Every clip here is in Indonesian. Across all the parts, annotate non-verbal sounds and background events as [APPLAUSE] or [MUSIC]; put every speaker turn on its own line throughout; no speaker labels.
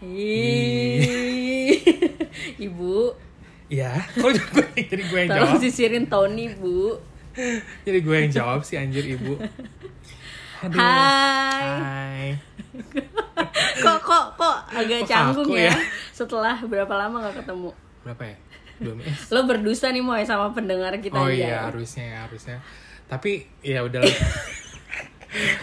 Ih. [LAUGHS] Ibu,
Iya, [LAUGHS] kok gue jadi gue yang
tolong
jawab?
sisirin Tony, Bu.
Jadi gue yang jawab sih anjir ibu. Aduh.
Hai.
Hai.
Kok kok kok agak
Kok
canggung
aku
ya?
ya?
setelah berapa lama gak ketemu?
Berapa ya? Dua menit.
Lo berdusta nih Moy sama pendengar kita
Oh
aja.
iya, harusnya ya, harusnya. Tapi ya udah
[LAUGHS]
lah.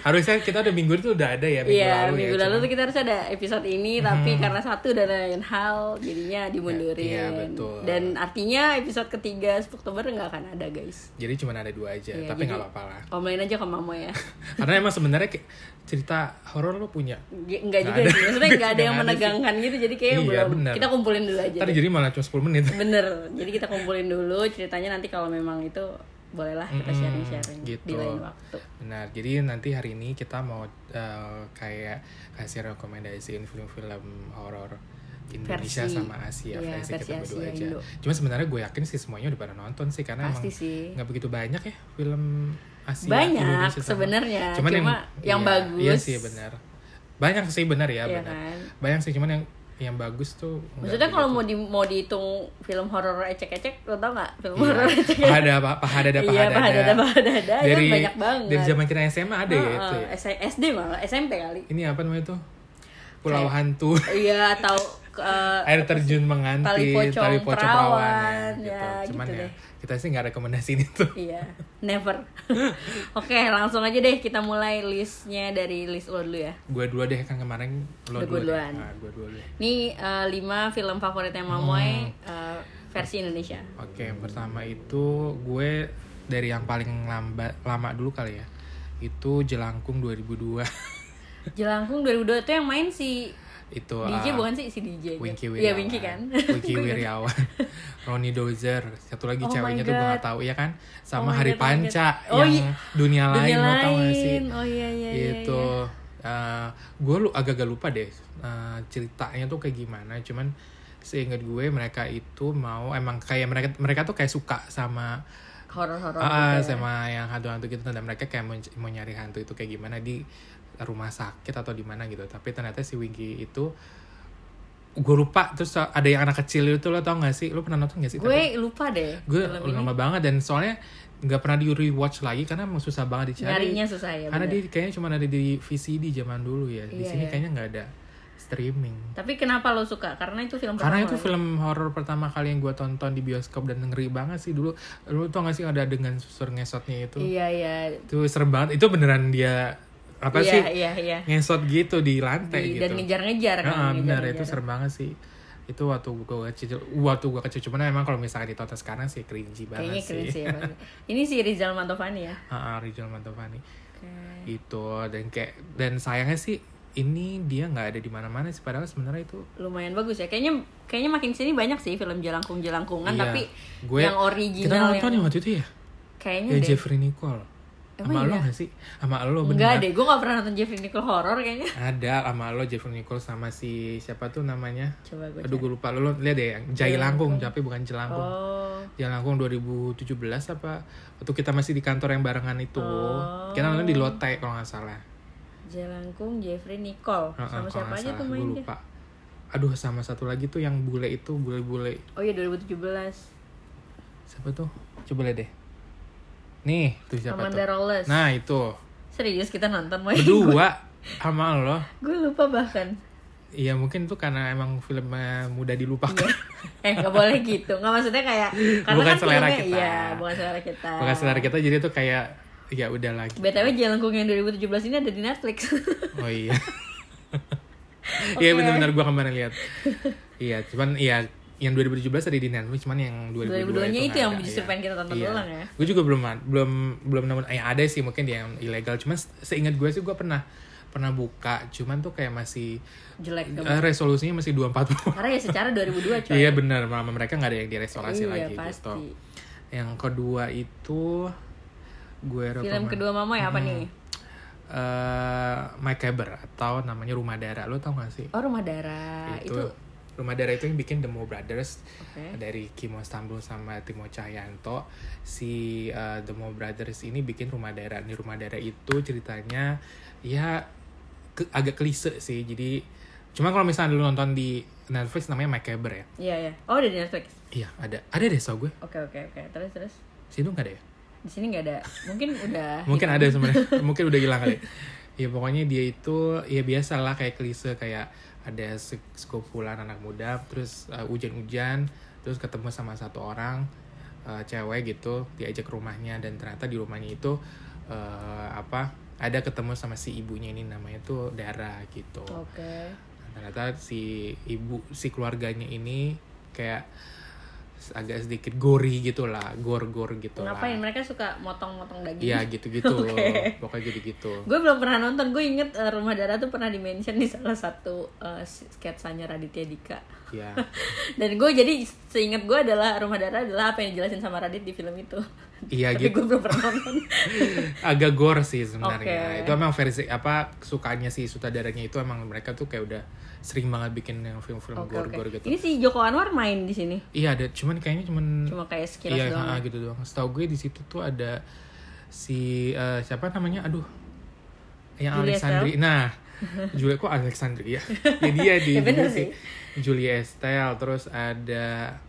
harusnya kita udah minggu itu udah ada ya minggu
Iya,
lalu
minggu
ya.
lalu
cuman- Hmm.
tuh kita harus ada episode ini, tapi karena satu dan lain hal, jadinya dimundurin.
Iya, betul.
Dan artinya episode ketiga Oktober nggak akan ada guys.
Jadi cuma ada dua aja,
Iya,
Ya, tapi
jadi-
nggak apa-apa lah.
Komplain aja ke mama ya.
Karena emang sebenarnya kayak cerita horor lo punya.
G- Nggak juga
ada.
sih, maksudnya nggak ada yang
[LAUGHS] Nggak ada sih.
menegangkan gitu, jadi kayak
Iya,
belum.
bener.
Kita kumpulin dulu aja.
Tadi
deh.
jadi malah cuma 10 menit.
Bener, jadi kita kumpulin dulu ceritanya nanti kalau memang itu bolehlah kita
Mm-mm,
sharing-sharing di
gitu.
lain waktu.
Benar. Jadi nanti hari ini kita mau eh, kayak kasih rekomendasiin film-film horor Indonesia
Versi.
sama Asia
Iya, versi
versi, kita berdua
Asia,
aja.
Indo.
Cuma sebenarnya gue yakin sih semuanya udah pada nonton sih karena
Pasti
emang
sih.
nggak begitu banyak ya film Asia
Banyak
Indonesia sama-
sebenarnya,
Cuman
cuma yang,
iya,
bagus.
Iya sih benar. Banyak sih benar ya,
Iya
benar.
kan?
Banyak sih cuman yang yang bagus tuh nggak
Maksudnya kalau
begitu.
mau di mau dihitung film horor ecek-ecek, lo tau gak film
Iya.
horor ecek-ecek?
Paha dada, paha dada, paha
Iya, paha dada,
dada.
paha dada, ya
Dari-
banyak banget.
Dari zaman kita SMA ada ya
Heeh,
itu ya?
S- SD malah, SMP kali.
Ini apa namanya tuh?
Kayak-
Pulau Hantu,
Iya, atau eh,
[LAUGHS] air terjun mengantin,
Tali pocong perawan, ya,
Cuman
gitu
ya,
deh.
kita sih nggak [LAUGHS] rekomendasiin itu.
iya, never. [LAUGHS] Oke, langsung aja deh kita mulai listnya dari list lo dulu ya.
Gue dua deh kan kemarin lo
Udah gua
dua
duluan.
deh. Nah, gua dua deh.
Ini eh, lima film favoritnya Mamoy
Hmm.
eh, versi Indonesia.
Oke, yang pertama itu gue dari yang paling lamba, lama dulu kali ya. Itu Jelangkung 2002.
Jelangkung 2002 itu yang main si
[LAUGHS] itu
DJ
ah,
bukan sih si DJ.
Winky Wiryawan.
Iya, Winky kan. [LAUGHS]
Winky Wiryawan. Ronnie Dozer. Satu lagi
Oh my
ceweknya tuh gue
God.
gak tau. Iya kan?
Oh my
Sama Hari
God, oh my
Panca.
God. Oh
yang
iya.
dunia,
Dunia
lain. Lo tau gak sih?
lain. Oh iya iya iya.
itu.
iya.
gue lu agak-agak lupa deh eh, ceritanya tuh kayak gimana. Cuman seingat gue mereka itu mau emang kayak mereka mereka tuh kayak suka sama
horor-horor
ah,
gitu ya.
sama yang hantu-hantu gitu dan mereka kayak mau, mau nyari hantu itu kayak gimana di rumah sakit atau di mana gitu tapi ternyata si Wiggy itu gue lupa terus ada yang anak kecil itu lo tau gak sih lo pernah nonton gak sih
Gue lupa deh.
gue
film ini.
lama banget dan soalnya nggak pernah di rewatch lagi karena emang susah banget dicari
nyarinya susah ya.
karena
bener.
dia kayaknya cuma ada di VCD zaman dulu ya di
Iya,
sini
iya.
kayaknya nggak ada streaming
Tapi kenapa lo suka? Karena itu film pertama
karena
kan?
itu
lo.
film horor pertama kali yang gue tonton di bioskop dan ngeri banget sih dulu lu tau gak sih ada dengan susur ngesotnya itu
Iya iya.
itu serem banget itu beneran dia apa
iya,
sih
Iya iya
ngesot gitu di lantai
Di-
gitu
Dan ngejar-ngejar kan.
Nah, benar
ngejar-ngejar.
itu serem banget sih itu waktu gua kecil waktu gua kecil cuman emang kalau misalnya ditonton sekarang sih cringy
Kayaknya
banget
keren
[LAUGHS] sih
sih. emang. Ini si Rizal Mantovani ya.
Ah, ah, Rizal Mantovani
Oke.
itu dan kayak dan sayangnya sih ini dia nggak ada di mana-mana sih padahal sebenarnya itu
Lumayan bagus ya. Kayaknya kayaknya makin sini banyak sih film jelangkung-jelangkungan
Iya.
Kan tapi
Gue-
yang
kita
original
nonton ya
yang
waktu itu ya
kayaknya
ya
deh.
Jeffrey Nicole
Emang
sama lo
iya?
gak sih sama lo
Enggak
bener
deh, gue gak pernah nonton Jeffrey Nicole horror kayaknya.
ada sama lo Jeffrey Nicole sama si siapa tuh namanya
Coba gue.
Aduh gue lupa lo, lo lihat deh yang Jailangkung tapi bukan Jelangkung.
Iya. Oh.
Jailangkung 2017 apa? Waktu kita masih di kantor yang barengan itu.
Oh.
Kita nonton di Lotte kalau nggak salah.
Jelangkung Jeffrey Nicole. Sama
Heeh, kalau
siapa
nggak
aja
salah.
tuh
Gue
mainnya?
lupa. Aduh sama satu lagi tuh yang bule itu bule-bule.
Oh iya 2017.
Siapa tuh? Coba lihat deh. Nih, tuh siapa
Amanda
tuh?
Rolles.
Nah, itu.
Serius kita nonton main. [LAUGHS]
Berdua sama lo.
Gue lupa bahkan.
Iya mungkin itu karena emang filmnya mudah dilupakan.
eh nggak boleh gitu. Nggak maksudnya kayak karena
Bukan
kan
selera
filmnya-
kita.
Iya, bukan selera kita.
Bukan selera kita jadi tuh kayak ya udah lagi.
BTW Jelangkung yang 2017 ini ada di Netflix. [LAUGHS]
Oh iya. Iya
Oke.
benar-benar gua kemarin lihat. Iya, cuman iya yang 2017 ada di Netflix, cuman yang 2022
2022-nya itu
nggak
yang
ada,
justru
iya.
pengen kita tonton
Iya.
ulang ya.
Gue juga belum belum belum nemu ya ada sih mungkin dia yang ilegal, cuman se- seingat gue sih gue pernah pernah buka, cuman tuh kayak masih
Jelek dong.
eh, resolusinya masih 240.
Karena ya secara 2002 [LAUGHS] coy.
Iya benar, malah mereka nggak ada yang
Iya,
direstorasi lagi
pasti.
gitu. Yang kedua itu gue
Film
rekomen-
kedua Mama ya apa nih?
eh My Caber atau namanya Rumah Darah lo tau gak sih?
Oh Rumah Darah.
itu,
Itu,
Rumah Darah itu yang bikin The Mo Brothers
Oke.
dari Kimo Stambul sama Timo Cahyanto si eh, The Mo Brothers ini bikin Rumah Darah ini Rumah Darah itu ceritanya ya ke- agak klise sih jadi Cuma kalau misalnya lu nonton di Netflix namanya Macabre ya.
Iya, iya. Oh, udah di Netflix.
Iya, ada. Ada deh tau gue.
Oke, oke, oke. Terus, terus.
Situ nggak ada ya?
Di sini nggak ada. Mungkin udah.
Mungkin ada sebenarnya. Mungkin udah hilang kali. Ya pokoknya dia itu ya biasa lah kayak klise kayak ada se- sekumpulan anak muda terus uh, hujan-hujan terus ketemu sama satu orang uh, cewek gitu diajak ke rumahnya dan ternyata di rumahnya itu uh, apa ada ketemu sama si ibunya ini namanya tuh Dara gitu.
Oke.
Nah, ternyata si ibu si keluarganya ini kayak agak sedikit gori gitu lah gor-gor gitu
Ngapain
lah
mereka suka motong-motong daging?
iya gitu-gitu
Oke.
pokoknya gitu-gitu
Gue belum pernah nonton, gue inget eh, Rumah Dara tuh pernah di-mention di salah satu eh, sketsanya Raditya Dika [LAUGHS]
ya
Dan gue jadi seinget gue adalah Rumah Dara adalah apa yang dijelasin sama Radit di film itu
iya
Tapi gue
gitu
belum pernah
[LAUGHS]
nonton
agak gor sih
Oke.
sebenarnya itu emang versi apa sukanya si sutradaranya itu emang mereka tuh kayak udah sering banget bikin yang film-film
Oke, oke.
gor-gor gitu
Ini si Joko Anwar main di sini
iya ada cuman kayaknya cuman
Cuma kayak sekilas
Iya,
doang ya?
ha, gitu doang. Setahu gue di situ tuh ada si eh, siapa namanya? Aduh. Yang
Julia
Alexandri.
[LAUGHS]
Nah, Julia kok Alexandria? ya dia di
Ya bener
di-
sih.
Julia Estelle, terus ada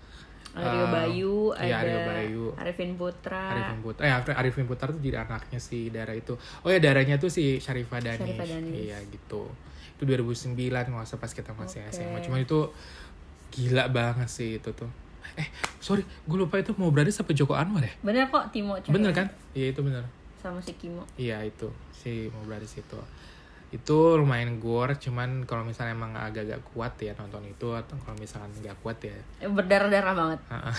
Ada Rio
eh,
Bayu,
iya,
ada
Rio Bayu.
Arifin Putra,
Arifin Putra, eh Arifin Putra tuh jadi anaknya si Dara itu. Oh ya Daranya tuh si Syarifah Danish.
Syarifah Danish.
Iya gitu. Itu 2009 nggak usah pas kita masih
Oke.
SMA. Cuman itu gila banget sih itu tuh. Eh sorry, gue lupa itu mau berada sampai Joko Anwar ya.
Bener kok Timo Cahyo.
Bener kan? Iya itu bener.
Sama si Kimo.
Iya itu si mau dari situ. Itu lumayan gore, cuman kalau misalnya emang agak-agak kuat ya nonton itu atau kalau misalnya nggak kuat ya
Eh, Berdarah-darah banget.
ha-ha.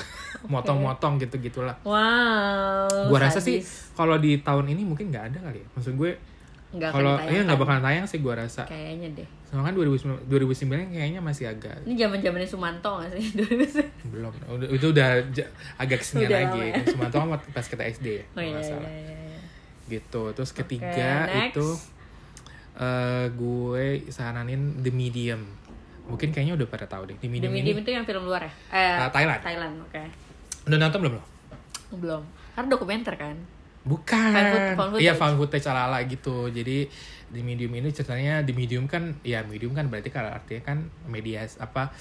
motong-motong gitu gitulah.
Wow.
Gua rasa sih kalau di tahun ini mungkin nggak ada kali. ya. Maksud gue
Enggak
kalau iya nggak bakalan tayang sih gua rasa.
ya, Kayaknya deh.
Soalnya kan 2009, 2009 kayaknya masih agak
Ini zaman zamannya Sumanto gak sih? [LAUGHS]
belum. Udah- itu udah j- agak kesini
Udah
lagi.
lama ya.
Cuma tuh amat pas kita SD ya.
oh
kalau
iya,
nggak
iya,
salah.
iya, iya.
Gitu. Terus ketiga
Oke, next.
itu eh, gue saranin The Medium. Mungkin kayaknya udah pada tahu deh. The
The
Medium,
Medium
ini
itu yang film luar ya? Eh,
eh, Thailand.
Thailand, oke.
Udah nonton belum lo?
Belum. Karena dokumenter kan?
Bukan.
Found foot- found footage.
Iya, found footage ala-ala gitu. Jadi di medium ini ceritanya di medium kan ya medium kan berarti kalau artinya kan medias apa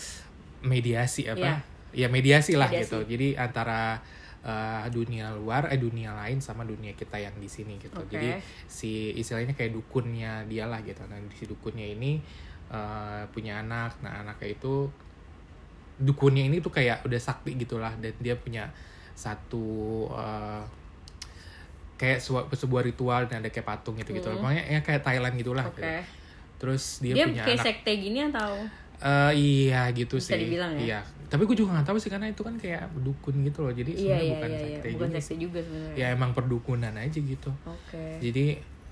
mediasi apa? Ya mediasi lah
Iya. Mediasi.
gitu. Jadi antara eh, dunia luar eh dunia lain sama dunia kita yang di sini gitu.
Oke.
Jadi si istilahnya kayak dukunnya dia lah gitu. Nah, si dukunnya ini eh, punya anak. Nah, anaknya itu dukunnya ini tuh kayak udah sakti gitulah dan dia punya satu eh, kayak sua- sebuah ritual dan ada kayak patung gitu gitu
Hmm.
pokoknya ya kayak Thailand gitulah
Oke.
gitu. terus dia,
Dia,
punya
kayak
anak
sekte gini atau?
Eh, iya gitu
Bisa
sih
dibilang ya?
iya tapi gue juga nggak tahu sih karena itu kan kayak dukun gitu loh jadi
Iya,
sebenarnya
iya,
bukan
iya, iya.
sekte
Bukan
juga
sekte juga sebenarnya.
sih. ya emang perdukunan aja gitu
Oke.
jadi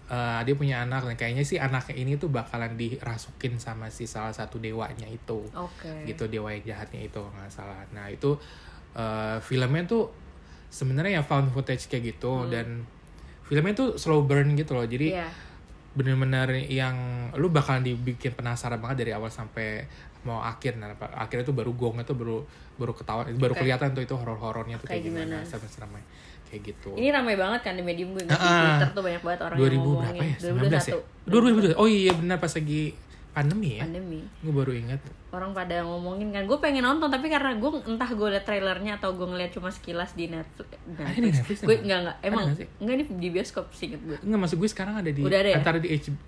eh, dia punya anak dan kayaknya sih anaknya ini tuh bakalan dirasukin sama si salah satu dewanya itu
Oke.
gitu dewa yang jahatnya itu kalau nggak salah nah itu eh, filmnya tuh sebenarnya ya found footage kayak
Hmm.
gitu dan filmnya tuh slow burn gitu loh jadi
Iya.
bener-bener yang lu bakalan dibikin penasaran banget dari awal sampai mau akhir nah pa- akhirnya tuh baru gongnya tuh baru baru ketahuan baru
Oke.
kelihatan tuh itu horor-horornya tuh kayak,
Kayak
gimana,
gimana.
serem-seremnya kayak gitu
Ini ramai banget kan di medium gue ngeliat di
Ah, ah.
Twitter tuh banyak banget orang
2000
yang ngomongin
berapa ya 19 ya 2000 oh iya benar pas lagi pandemi ya
pandemi
gue baru ingat
orang pada ngomongin kan gue pengen nonton tapi karena gue entah gue liat trailernya atau gue ngeliat cuma sekilas di Netflix, Nah,
Ada di Netflix
gue
emang?
nggak nggak emang
nggak sih?
nggak ini di bioskop sih inget gue
nggak maksud gue sekarang ada di
Udah ada ya?
antara di H-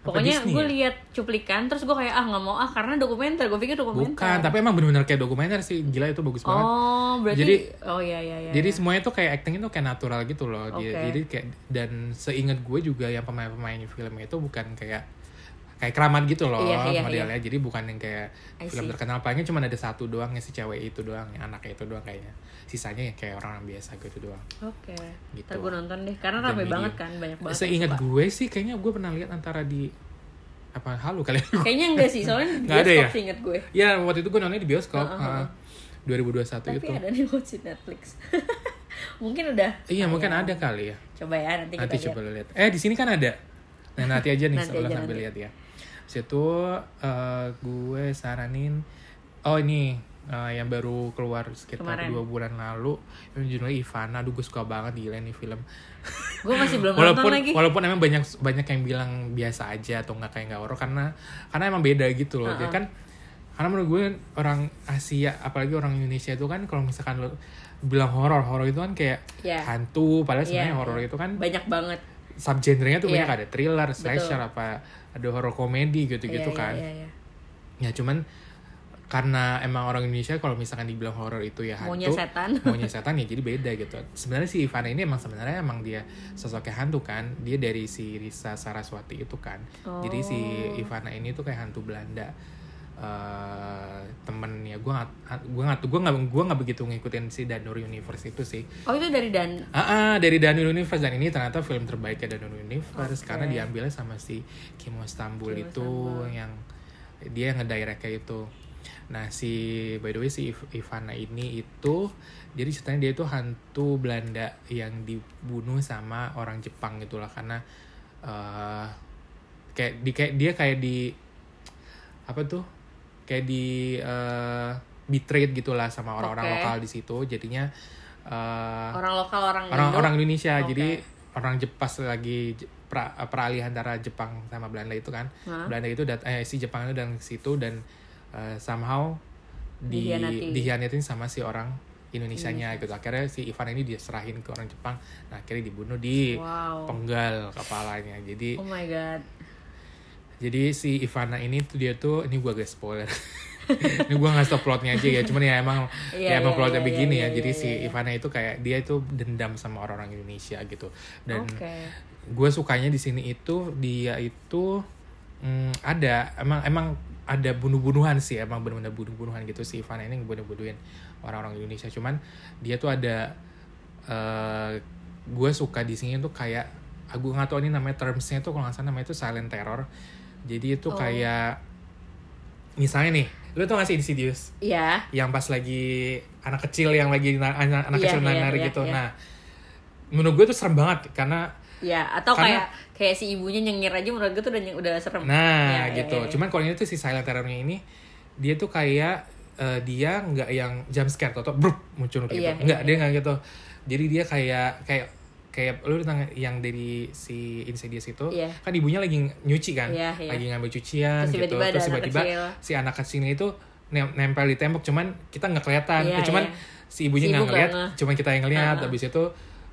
apa
pokoknya
Disney
gue
ya?
liat cuplikan terus gue kayak ah nggak mau ah karena dokumenter gue pikir dokumenter
Bukan, tapi emang bener-bener kayak dokumenter sih. Gila itu bagus banget.
oh berarti
Jadi-
oh ya ya ya
Jadi semuanya tuh kayak acting itu kayak natural gitu loh.
Oke.
Dia- Jadi kayak dan seingat gue juga yang pemain-pemain filmnya itu bukan kayak kayak keramat gitu loh
Iya, iya,
modelnya. Jadi bukan yang kayak
I
film
see.
terkenal palingnya cuma ada satu doang yang si cewek itu doang, yang anaknya itu doang kayaknya. Sisanya yang kayak orang biasa gitu doang.
oke
Gitu.
ntar gue nonton deh karena
Dan
ramai
medium.
banget kan banyak banget yang
Seingat
suka.
gue sih kayaknya gue pernah lihat antara di apa halu kali. ya.
kayaknya enggak sih soalnya di
[LAUGHS] Nggak ada
bioskop
ya?
sih inget gue
ya waktu itu gue nontonnya di bioskop.
Heeh, heeh.
heeh. 2021
Tapi ya,
itu.
ada nih watch it Netflix. [LAUGHS] mungkin udah.
Iya, mungkin
tayang.
ada kali ya.
Coba ya nanti,
nanti
kita
coba lu lihat eh di sini kan ada nah nanti aja nih
[LAUGHS] Nanti
sebelah
aja,
sambil
nanti.
lihat ya situ eh gue saranin oh ini eh, yang baru keluar sekitar
Kemarin.
dua bulan lalu yang judulnya Ivana, aduh gue suka banget gila nih film.
gue masih belum
walaupun
nonton lagi
walaupun emang banyak banyak yang bilang biasa aja atau nggak kayak nggak horor karena karena emang beda gitu loh. Dia
Ha-ha.
kan karena menurut gue orang Asia apalagi orang Indonesia itu kan kalau misalkan lo bilang horor horor itu kan kayak
Ya.
hantu padahal
Iya.
sebenarnya horor itu kan
banyak banget
subgenrenya tuh
Iya.
banyak ada thriller, slasher apa ada horor komedi gitu-gitu
Iya,
kan.
iya, iya, iya.
Ya cuman karena emang orang Indonesia kalau misalkan dibilang horor itu ya hantu,
maunya setan [LAUGHS]
[LAUGHS] maunya setan ya jadi beda gitu. Sebenarnya si Ivana ini emang sebenarnya emang dia sosoknya hantu kan. Dia dari si Risa Saraswati itu kan. Jadi si
Oh.
Ivana ini tuh kayak hantu Belanda. eh temen ya gue nggak gue nggak gue nggak gue nggak begitu ngikutin si Danur Universe itu sih
oh itu dari dan
Ah, ah, dari Danur Universe dan ini ternyata film terbaiknya Danur
Oke.
Universe karena diambilnya sama si Kimo Stambul
Kimo
itu
Stambul.
yang dia yang ngedirect kayak itu. Nah si by the way si Iv- Ivana ini itu jadi ceritanya dia itu hantu Belanda yang dibunuh sama orang Jepang gitulah karena eh kayak di kayak dia kayak di apa tuh kayak di eh, betrayed gitulah sama orang-orang
Oke.
lokal di situ jadinya eh,
orang lokal orang Indo.
orang-orang Indonesia
Oke.
jadi orang Jepas lagi je- pra- peralihan antara Jepang sama Belanda itu kan
Hah?
Belanda itu dat eh, si Jepang itu datang ke situ dan eh, somehow di
Dihianati.
dihianatin sama si orang Indonesianya gitu akhirnya si Ivan ini diserahin ke orang Jepang nah akhirnya dibunuh di
wow
penggal kepalanya jadi
oh my god
jadi si Ivana ini tuh dia tuh ini gua agak spoiler. [LAUGHS] ini gua ngasih tau plotnya aja ya, cuman ya emang
Iya,
ya emang
iya,
plotnya
iya,
begini
iya,
ya.
iya,
Jadi
iya,
si
iya.
Ivana itu kayak dia itu dendam sama orang-orang Indonesia gitu. Dan
oke
gue sukanya di sini itu dia itu mm, ada emang emang ada bunuh-bunuhan sih emang benar-benar bunuh-bunuhan gitu si Ivana ini bunuh-bunuhin orang-orang Indonesia cuman dia tuh ada eh gue suka di sini tuh kayak aku nggak tahu ini namanya termsnya tuh kalau nggak salah namanya itu silent terror jadi itu
Oh.
kayak misalnya nih lu tuh ngasih Insidious
Iya,
yang pas lagi anak kecil yang lagi na- anak, anak
Iya,
kecil
iya,
nanar
iya,
gitu.
iya.
Nah, menurut gue tuh serem banget karena
iya. Atau
Karena-
kayak kayak si ibunya nyengir aja menurut gue tuh udah udah serem.
nah
Iya, iya,
gitu.
iya, iya.
Cuman kalau ini tuh si silent terrornya ini dia tuh kayak eh, dia nggak yang jump scare atau bruk muncul gitu.
Iya, iya,
nggak, dia
iya.
nggak gitu. Jadi dia kayak kayak kayak lu tentang yang dari si Insidious itu
Iya.
kan ibunya lagi nyuci kan,
Iya, iya.
lagi ngambil cucian
Terus
gitu.
tiba-tiba ada
Terus
anak
tiba-tiba
kecil.
si anak kecilnya itu nem- nempel di tembok cuman kita nggak kelihatan
Iya,
Eh, cuman
iya.
si
Si ibu
ibunya nggak
nggak
ngeliat
ngeh.
cuman kita yang ngeliat
Ah, ah.
habis itu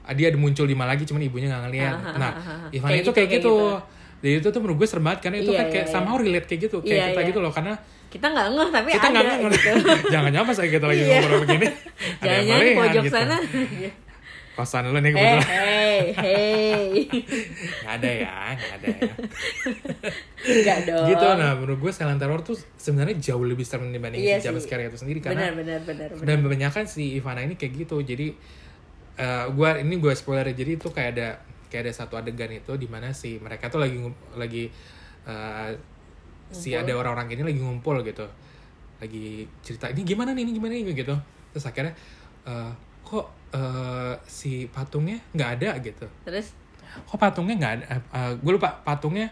ah, dia ada muncul lima lagi cuman ibunya nggak ngeliat
Ah, ah,
nah
ah, ah, ah.
Ivan
Kayak
itu
gitu,
kayak
kayak
gitu,
gitu.
jadi itu tuh menurut gue serem banget karena itu
Iya,
kan kayak
iya,
sama
iya.
relate kayak gitu kayak
Iya,
kita
iya.
gitu loh karena
Kita nggak ngeh tapi
kita
ada
nggak ngerti
gitu.
[LAUGHS] jangan jangan pas kita lagi
Iya.
ngobrol
[LAUGHS]
begini ada yang
Jangan-jangan di
melihat
pojok
gitu [LAUGHS]
sana. Eh.
kosan lu
hey,
nih kebetulan
hey, hey.
nggak ada ya nggak ada
[LAUGHS]
ya
Enggak dong.
gitu nah menurut gue silent terror tuh sebenarnya jauh lebih serem dibanding
Iya
si jump
sih.
scare itu sendiri karena
Benar, benar, benar, benar.
dan kebanyakan si Ivana ini kayak gitu jadi eh, gua ini gue spoiler jadi itu kayak ada kayak ada satu adegan itu di mana si mereka tuh lagi ngum- lagi eh, si
Ngumpul.
ada orang-orang ini lagi ngumpul gitu lagi cerita ini gimana nih ini gimana nih gitu terus akhirnya eh, kok eh, si patungnya nggak ada gitu
Terus
kok patungnya nggak ada gue lupa patungnya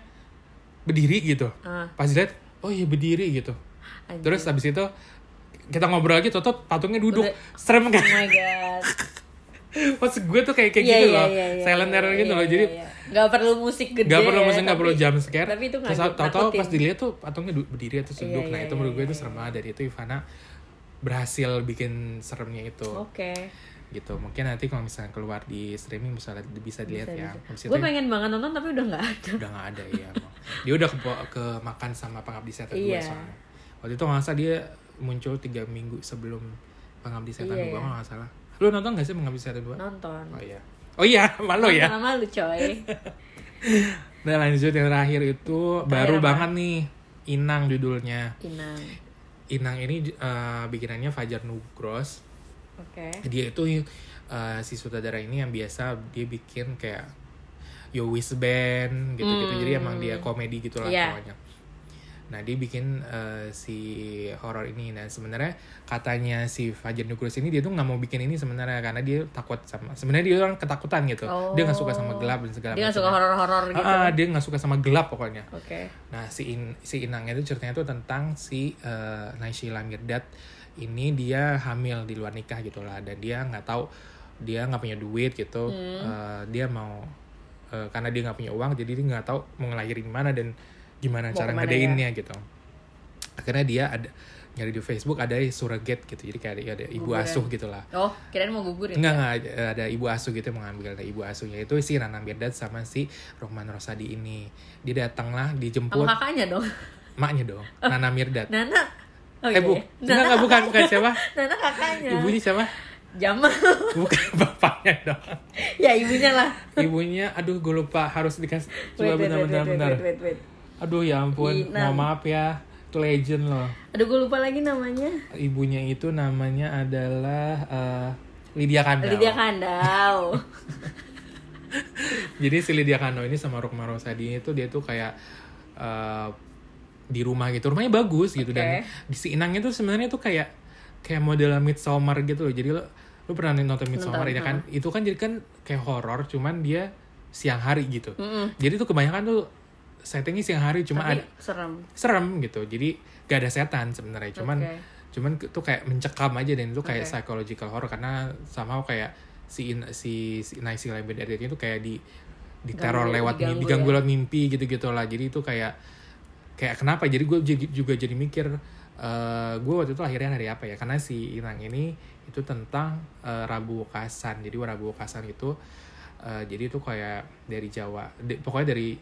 berdiri gitu
ah,
pas dilihat oh iya berdiri gitu
anjir.
terus habis itu kita ngobrol lagi tutup patungnya duduk
Udah.
serem
Oh
kan [LAUGHS]
my god.
maksud gue tuh kayak kayak
Iya,
gitu
iya,
loh
iya, iya,
silent
iya,
terror gitu
iya,
loh
iya,
jadi
iya. nggak perlu musik gede.
nggak perlu
ya,
maksudnya nggak
tapi-
perlu jump scare
Tapi itu nggak
terus tahu-tahu pas
nakutin.
dilihat tuh patungnya du- berdiri atau
Iya,
duduk nah
iya,
itu menurut
iya,
gue itu
iya,
serem banget dari itu Ivana berhasil bikin seremnya itu
Oke.
gitu mungkin nanti kalau misalnya keluar di streaming bisa bisa dilihat ya Habis itu
Gue gitu. pengen banget nonton tapi udah nggak ada.
udah nggak ada ya emang. dia udah ke, ke makan sama pengabdi setan
Iya.
dua soalnya waktu itu nggak salah dia muncul tiga minggu sebelum pengabdi setan
Iya.
dua kalau nggak salah lu nonton nggak sih pengabdi setan dua
Nonton. eh.
oh iya oh iya [LAUGHS] malu ya
Sama lu coy.
[LAUGHS] dan lanjut yang terakhir itu baru
apa?
banget nih inang judulnya
Inang.
inang ini eh, bikinannya Fajar Nugros
Oke.
dia itu eh, si sutradara ini yang biasa dia bikin kayak Yo Wish Band gitu-gitu
Hmm.
jadi emang dia komedi gitu lah
Iya.
pokoknya nah dia bikin eh, si horor ini nah sebenarnya katanya si Fajar Nugrus ini dia tuh nggak mau bikin ini sebenarnya karena dia takut sama sebenarnya dia orang ketakutan gitu dia nggak suka
Oh.
sama gelap dan segala
Dia nggak suka
macamnya.
horor-horor gitu.
Ah, ah, dia nggak suka sama gelap pokoknya
Oke.
Nah, si In- si Inangnya itu ceritanya itu tentang si eh Naysila Mirdad ini dia hamil di luar nikah gitu lah dan dia nggak tahu dia nggak punya duit gitu
Hmm.
Eh, dia mau eh, karena dia nggak punya uang jadi dia nggak tahu mau ngelahirin mana dan gimana
Mau
cara
kemana ya?
gedeinnya gitu akhirnya dia ada nyari di Facebook ada surrogate gitu jadi kayak ada, ada ibu
Guguran.
asuh gitu gitulah
Oh, kirain mau gugurin.
Enggak, enggak, ada ibu asuh gitu yang mengambil ada ibu asuhnya itu si Rana Mirdad sama si Rohman Rosadi ini. Dia datanglah
Sama
dijemput
kakaknya dong. [LAUGHS]
maknya dong, Nana Mirdad.
Nana. Oh
eh,
iya.
bu,
iya.
enggak, enggak, bukan, bukan
[LAUGHS]
siapa?
Nana kakaknya.
Ibunya siapa?
Jamal. [LAUGHS]
Bukan [LAUGHS] bapaknya dong.
ya ibunya lah.
Ibunya, aduh gue lupa harus dikasih.
Wait,
Coba
wait, wait,
bentar-bentar.
wait, wait, wait, wait.
Aduh ya ampun,
Ina.
mohon maaf ya. Itu legend loh.
Aduh, gue lupa lagi namanya.
Ibunya itu namanya adalah eh, Lydia Kandel.
Lydia
[LAUGHS]
Kandau.
Jadi si Lydia Kano ini sama Rukma Rosadi itu dia tuh kayak eh, di rumah gitu. Rumahnya bagus gitu dan di si Inang itu sebenarnya tuh kayak kayak model Midsommar gitu loh. Jadi lo lo pernah nonton Midsommar
Nonton,
ya kan? Itu kan jadi kan kayak horor cuman dia siang hari gitu.
Mm-mm.
Jadi tuh kebanyakan tuh settingnya siang hari cuma
Tapi
ada
serem.
serem gitu. Jadi gak ada setan sebenarnya cuman
Oke.
cuman ke- tuh kayak mencekam aja dan itu kayak
Oke.
psychological horror karena sama kayak si in, si, si Naisi Library itu kayak di diteror
Ganggu-
lewat mimpi,
diganggu
diganggu
ya.
lewat mimpi gitu-gitu lah. Jadi itu kayak kayak kenapa? Jadi gue juga jadi mikir eh gue waktu itu akhirnya hari apa ya? Karena si Inang ini itu tentang eh, Rabu Wakasan. Jadi Rabu Wakasan itu eh, jadi itu kayak dari Jawa. Di- pokoknya dari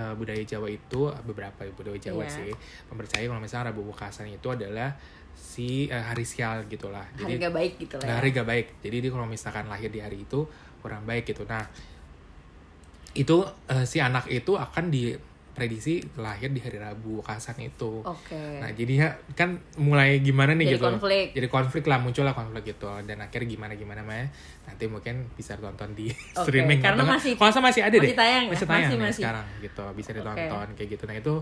eh, budaya Jawa itu beberapa ya, budaya Jawa
Iya.
sih mempercayai kalau misalnya Rabu Wakasan itu adalah si eh, hari sial gitulah.
Hari
Jadi
gak baik gitu lah. ya.
Nah, hari gak baik. Jadi dia kalau misalkan lahir di hari itu kurang baik gitu. Nah itu eh, si anak itu akan diprediksi lahir di hari Rabu Wakasan itu.
Oke.
Nah jadinya kan mulai gimana nih
Jadi
gitu.
konflik.
Jadi konflik lah muncullah konflik gitu dan akhirnya gimana gimana mah nanti mungkin bisa tonton di
Oke,
streaming
karena
atau nggak-
masih-
kalau nggak salah masih ada
masih
deh
tayang ya?
masih tayang
Masih,
nih
masih.
sekarang gitu bisa ditonton kayak gitu nah itu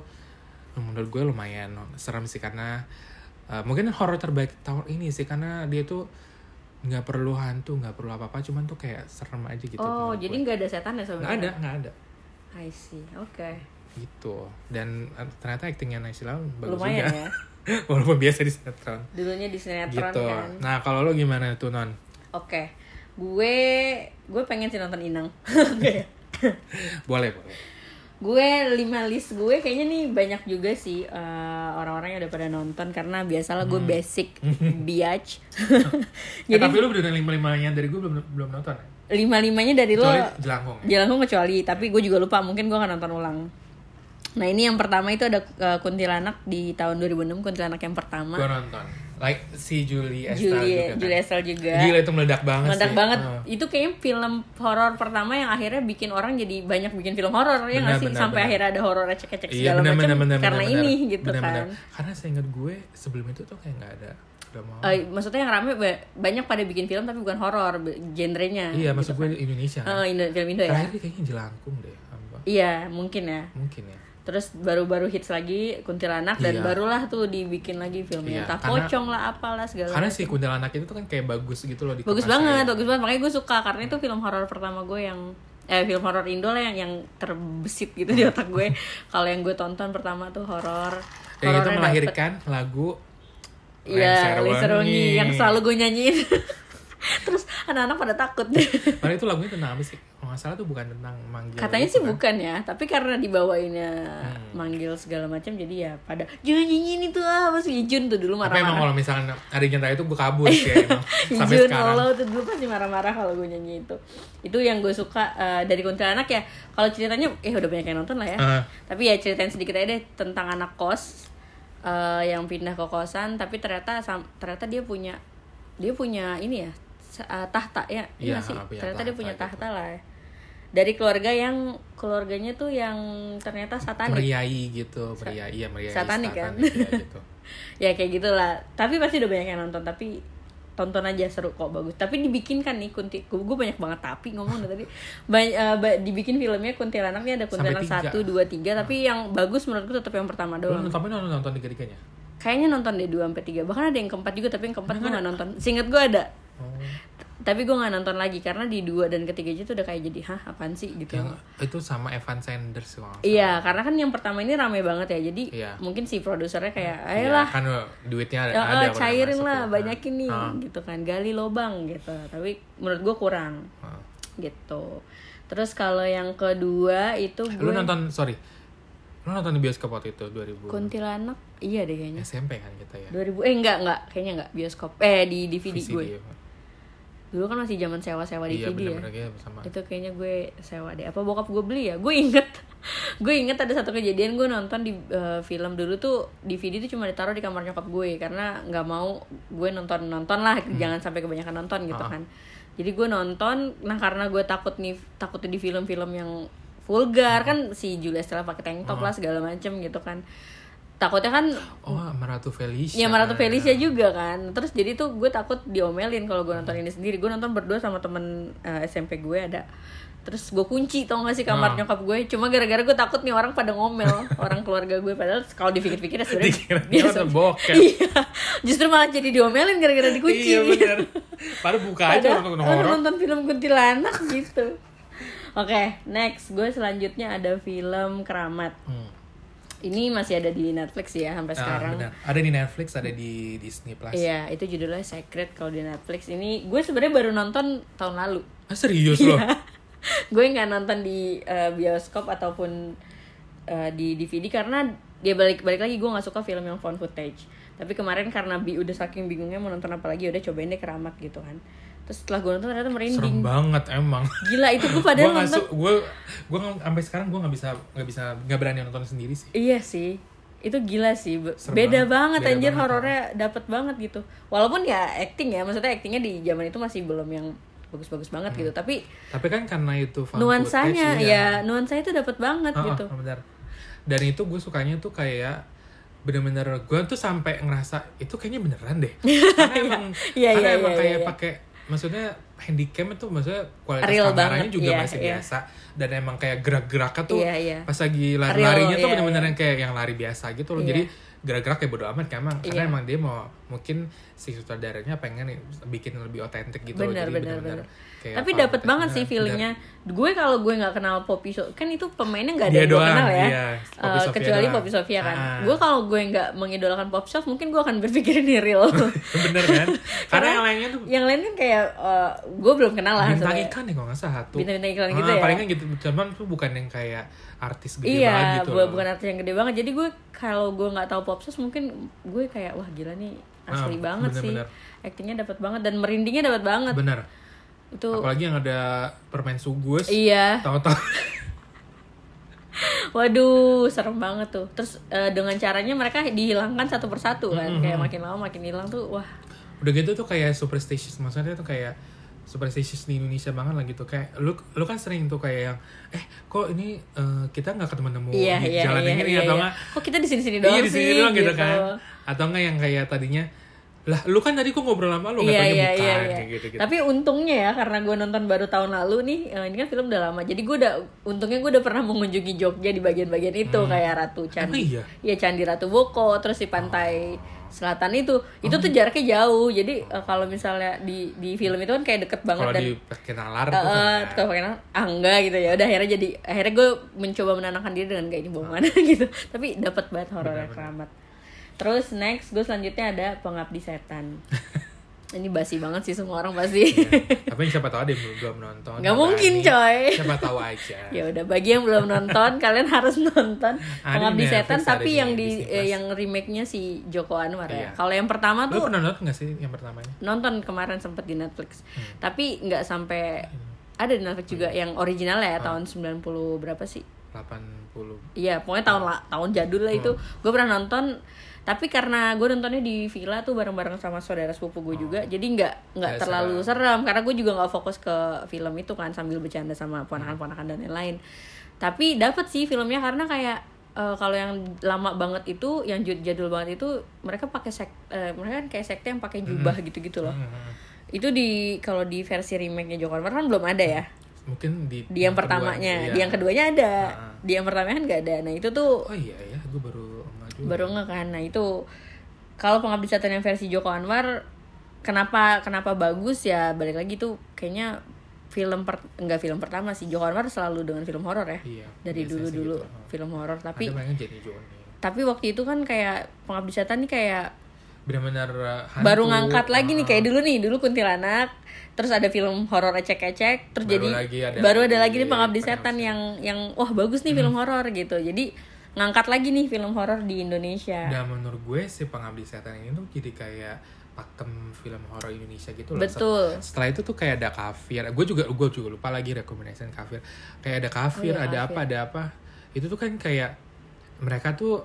menurut gue lumayan serem sih karena eh, mungkin horor terbaik tahun ini sih karena dia tuh nggak perlu hantu nggak perlu apa apa cuman tuh kayak serem aja gitu
Oh,
menurut
jadi
gue.
nggak ada setan ya
nggak ada
sebenarnya?
nggak ada
I see. Oke.
gitu dan eh, ternyata aktingnya Naisila bagus
Lumayan
juga
ya.
[LAUGHS] walaupun biasa di sinetron
Dulunya di sinetron
gitu
kan.
nah kalau lo gimana tuh non
Oke. Gue gue pengen sih nonton Inang. [LAUGHS] Oke.
boleh boleh Eh,
gue lima list gue kayaknya nih banyak juga sih eh, orang-orang yang udah pada nonton karena biasalah gue
[LAUGHS]
basic biatch.
Eh,
Jadi
Hmm. tapi lu udah lima limanya dari gue belum belum nonton ya?
lima-limanya dari lo
Kecuali Jelangkung ya?
Jelangkung kecuali, tapi gue juga lupa, mungkin gue akan nonton ulang. Nah ini yang pertama itu ada eh, kuntilanak di tahun 2006 kuntilanak yang pertama.
Gue nonton. Like si Julie
Julia
Estelle juga kan?
Julia Estelle juga.
Gila itu meledak banget
Meledak
sih. Ah.
banget.
Heeh.
Itu kayaknya film horor pertama yang akhirnya bikin orang jadi banyak bikin film horor ya nggak
Benar,
sih
benar,
sampai
benar.
akhirnya ada horor ecek-ecek
Iya
segala
benar
macam
benar benar
karena
benar,
ini
benar.
gitu
Benar,
kan.
benar. Karena saya ingat gue sebelum itu tuh kayak nggak ada drama. horor.
Eh, maksudnya yang rame ba- banyak pada bikin film tapi bukan horor be- genrenya.
iya maksud gue Indonesia.
Eh, Indo- film Indo ya.
Terakhir kayaknya Jelangkung deh. apa.
Iya, mungkin ya.
Mungkin ya.
Terus baru-baru hits lagi Kuntilanak dan
Iya.
barulah tuh dibikin lagi filmnya.
Iya,
Entah
karena-
pocong lah apalah segala.
Karena si kuntilanak itu tuh kan kayak bagus gitu loh di
bagus
kemasan.
banget bagus banget makanya gue suka karena itu film horor pertama gue yang eh film horor Indo lah yang yang terbesit gitu di otak
[LAUGHS]
gue kalau yang gue tonton pertama tuh horor
Dan itu
Horornya
melahirkan lagu
dapet- iya
Lengser
Lengser Wengi
Wengi.
yang selalu gue nyanyiin [LAUGHS] terus anak-anak pada takut [LAUGHS]
Padahal itu lagunya tentang apa sih? Kalau nggak salah tuh bukan tentang manggil.
katanya
gitu
sih
kan. Hmm.
bukan ya tapi karena dibawainnya manggil segala macam jadi ya pada jangan nyanyiin itu ah mas Ijun tuh dulu
Tapi emang
marah-marah
kalau misalkan ada yang tahu itu gue kabur sih
[LAUGHS]
emang. Sampai
Ijun
sekarang.
lo tuh dulu pasti marah-marah kalau gue nyanyi itu itu yang gue suka eh, dari kuntilanak ya kalau ceritanya eh udah banyak yang nonton lah ya
Eh.
tapi ya ceritain sedikit aja deh tentang anak kos eh, yang pindah ke kosan tapi ternyata sam- ternyata dia punya dia punya ini ya sa- eh, tahta ya iya
Iya,
nggak sih
punya
ternyata dia
tahta
punya
gitu.
tahta lah ya. dari keluarga yang keluarganya tuh yang ternyata satanik
meriai gitu meriai ya meriai
Satanik kan?
ya, gitu.
ya kayak gitulah tapi pasti udah banyak yang nonton tapi tonton aja seru kok bagus tapi dibikinkan nih kunti gue banyak banget tapi ngomong dari tadi banyak eh, dibikin filmnya kuntilanaknya ada
Sampai
kuntilanak
tiga.
satu dua tiga tapi yang bagus menurut gue tetap yang pertama [LAUGHS]
Lu
doang
nonton tapi nonton nonton tiga-tiganya
kayaknya nonton deh dua sampai tiga bahkan ada yang keempat juga tapi yang keempat gue nggak nonton singkat gue ada
oh.
tapi gue nggak nonton lagi karena di dua dan ketiga itu udah kayak jadi hah apaan sih gitu
yang itu sama Evan Sanders kalau nggak salah.
Iya, karena kan yang pertama ini rame banget ya. Jadi
Iya.
mungkin si produsernya kayak,
Iya,
ayolah,
kan duitnya ada,
ya,
ada
eh,
kalau
cairin
masuk
lah,
ya.
banyakin nih,
Ah.
gitu kan. Gali lobang gitu. Tapi menurut gue kurang,
Ah.
gitu. Terus kalau yang kedua itu gue
Lu nonton sorry, lu nonton di bioskop waktu itu 2000
kuntilanak, iya deh kayaknya.
SMP kan kita ya.
2000 eh enggak enggak kayaknya enggak bioskop eh di DVD
VCD
gue
ya.
dulu kan masih zaman sewa-sewa
Iya
DVD ya
bener-bener kayak sama.
itu kayaknya gue sewa deh apa bokap gue beli ya gue inget [LAUGHS] gue inget ada satu kejadian gue nonton di eh, film dulu tuh DVD tuh cuma ditaruh di kamar nyokap gue karena nggak mau gue nonton nonton lah jangan sampai kebanyakan nonton gitu
Hmm. Ah.
kan jadi gue nonton nah karena gue takut nih takut di film-film yang
Hmm.
vulgar kan si Julia Estella pakai tank top lah segala macem gitu kan takutnya kan
Oh, Maratu Felicia.
Ya Maratu Felicia
nah.
juga kan. Terus jadi tuh gue takut diomelin kalau gue nonton ini sendiri. Gue nonton berdua sama temen eh, SMP gue ada. Terus gue kunci tau gak sih kamar
Ah.
nyokap gue. Cuma gara-gara gue takut nih orang pada ngomel.
[LAUGHS]
orang keluarga gue. Padahal kalau dipikir-pikir ya sebenernya.
Dikira [LAUGHS] dia
biasa.
nonton bokep.
[LAUGHS] Iya. Justru malah jadi diomelin gara-gara dikunci.
Iya
[LAUGHS]
bener. Padahal buka aja
Padahal
nonton
orang
horor.
nonton film kuntilanak [LAUGHS] gitu. Oke, next gue selanjutnya ada film Keramat.
Hmm.
Ini masih ada di Netflix ya sampai
Ah,
sekarang.
benar. Ada di Netflix, ada di Disney Plus.
Iya, itu judulnya Secret kalau di Netflix. Ini gue sebenarnya baru nonton tahun lalu.
Ah, serius
Iya.
loh.
[LAUGHS] gue nggak nonton di eh, bioskop ataupun eh, di DVD karena dia balik-balik lagi gue nggak suka film yang found footage. Tapi kemarin karena bi udah saking bingungnya mau nonton apa lagi, ya udah cobain deh keramat gitu kan. Terus setelah gue nonton ternyata merinding.
Serem banget emang.
Gila itu gue
Gue
padahal
nggak
nonton.
su- gue gue nggak- sampai sekarang gue nggak bisa nggak bisa nggak berani nonton sendiri sih.
Iya sih. Itu gila sih. Be-
Serem
Beda
banget.
banget,
Beda
anjir
banget.
horornya dapet banget gitu. Walaupun ya acting ya, maksudnya actingnya di zaman itu masih belum yang bagus-bagus banget
Hmm.
gitu. Tapi
Tapi kan karena itu found
nuansanya
footage, iya.
ya nuansanya itu dapat banget
Ah, ah,
gitu
benar. Dan itu gue sukanya tuh kayak bener-bener gue tuh sampai ngerasa itu kayaknya beneran
[LAUGHS]
deh. Karena emang
Iya,
karena
iya,
emang
iya,
kayak
iya.
pakai maksudnya handycam itu maksudnya kualitas
Real
kameranya
banget,
juga
iya,
masih
iya.
biasa dan emang kayak gerak-geraknya tuh
Iya, iya.
pas lagi lari-larinya tuh
iya,
bener-bener
iya.
yang kayak yang lari biasa gitu loh.
Iya.
Jadi gerak-gerak kayak bodo amat kayak emang karena
Iya.
emang dia mau mungkin si sutradaranya pengen bikin lebih otentik gitu loh.
benar
Jadi
benar
bener-bener
benar
kayak
tapi
found
dapat
footage
banget sih
beneran.
feelingnya gue kalau gue nggak kenal Poppy So kan itu pemainnya nggak ada
Dia
yang gue
doang,
kenal ya
iya. Poppy
Eh,
Sofia
kecuali
doang.
Poppy Sofia kan
Ah.
gue kalau gue nggak mengidolakan Pop Sof mungkin gue akan [LAUGHS] berpikir ini real
[LAUGHS] [LAUGHS] bener
[LAUGHS]
kan? Karena yang lainnya tuh
yang lain kan kayak eh, gue belum kenal lah
bintang
sebenarnya.
iklan ya kalau nggak salah satu
Bintang-bintang iklan gitu ya?
paling kan gitu cuman tuh bukan yang kayak artis gede banget
Iya,
gitu
bu-
loh.
bukan artis yang gede banget. Jadi gue kalau gue nggak tahu Popsus mungkin gue kayak wah gila nih asli
Ah,
banget
bener-bener.
sih. Actingnya dapat banget dan merindingnya dapat banget.
bener
Itu
apalagi yang ada permen sugus
iya.
tahu-tahu [LAUGHS]
Waduh, serem banget tuh. Terus eh, dengan caranya mereka dihilangkan satu persatu kan.
Mm-hmm.
Kayak makin lama makin hilang tuh wah.
udah gitu tuh kayak superstitious maksudnya tuh kayak superstitious di Indonesia banget lah gitu kayak lu lu kan sering tuh kayak yang eh kok ini eh, kita nggak ketemu-temu
Iya,
di
iya,
gitu. jalan
iya,
yang ini
iya,
atau
iya.
nggak
Kok kita di sini-sini doang
iya di
sih?
sini doang gitu kan atau nggak yang kayak tadinya lah lu kan tadi kok ngobrol sama lu
Iya
katanya
iya
bukan
iya. iya.
kayak gitu gitu
Tapi untungnya ya karena gue nonton baru tahun lalu nih, eh, ini kan film udah lama. Jadi gue udah untungnya gue udah pernah mengunjungi Jogja di bagian-bagian itu kayak Ratu
Hmm. Emang
Candi.
iya? Oh.
Candi Ratu Boko, terus di pantai selatan itu. Itu
Hmm.
tuh jaraknya jauh. Jadi eh, kalau misalnya di di film itu kan kayak deket banget
kalau
dan
di pakai nalar tuh
Heeh,
kan
kalau pakai nang- ah enggak gitu ya udah akhirnya jadi akhirnya gue mencoba menenangkan diri dengan gak ini bohongan [LAUGHS] gitu tapi dapat banget horornya keramat terus next gue selanjutnya ada pengabdi
[LAUGHS]
setan ini basi banget sih semua orang
Iya.
pasti
tapi siapa tahu ada yang belum, belum nonton
Nggak mungkin, coy.
[LAUGHS] siapa tahu aja
[LAUGHS] [LAUGHS] ya udah bagi yang belum nonton kalian harus
[LAUGHS]
nonton
Ada
pengabdi
di Netflix,
setan
ada di
tapi yang di
Disney
eh,
Plus.
yang remake nya si Joko Anwar
Iya.
ya kalau yang pertama
lu
tuh
pernah nonton nggak sih yang pertamanya
nonton kemarin sempet di Netflix.
Hmm.
Tapi nggak sampai ada di Netflix
Oh,
juga
iya.
yang originalnya ya
Ah.
tahun 90 berapa sih?
80
Iya, pokoknya tahun la- tahun jadul lah
Hmm.
itu. Gue pernah nonton tapi karena gue nontonnya di villa tuh bareng-bareng sama saudara sepupu gue juga,
Hmm.
jadi nggak nggak
Nggak
terlalu serem karena gue juga nggak fokus ke film itu kan sambil bercanda sama ponakan-ponakan dan lain-lain. Tapi dapet sih filmnya karena kayak eh, kalau yang lama banget itu, yang jad- jadul banget itu mereka pakai sek, eh, mereka kan kayak sekte yang pakai jubah gitu-gitu loh.
Hmm,
Itu di kalau di versi remake-nya Joko Anwar kan belum ada ya.
mungkin di
Di yang pertamanya,
kedua,
di yang keduanya ada.
iya. Ah.
Di yang pertamanya kan nggak ada. Nah, itu tuh
oh iya ya gue baru maju
baru nggak kan. Nah, itu kalau pengabdi setan yang versi Joko Anwar kenapa kenapa bagus ya balik lagi tuh kayaknya film per enggak film pertama sih Johor Mar selalu dengan film horor ya
Iya,
dari
biasanya
dulu
sih
dulu
gitu. Oh.
film horor tapi
Ada banyak jadi Joni.
tapi waktu itu kan kayak pengabdi setan nih kayak
Benar-benar uh, hantu.
baru ngangkat lagi nih
uh,
kayak dulu nih dulu kuntilanak terus ada film horor ecek-ecek terus
Baru
jadi
lagi ada
baru ada
lagi
lagi nih pengabdi
Pengabdi
setan yang yang wah bagus nih
Hmm.
film horor gitu jadi ngangkat lagi nih film horor di Indonesia
Dan menurut gue si pengabdi setan ini tuh jadi kayak pakem film horor Indonesia gitu loh.
betul
setelah itu tuh kayak ada kafir gue juga gue juga lupa lagi rekomendasi kafir kayak ada kafir
Oh iya,
ada
kafir.
apa ada apa itu tuh kan kayak mereka tuh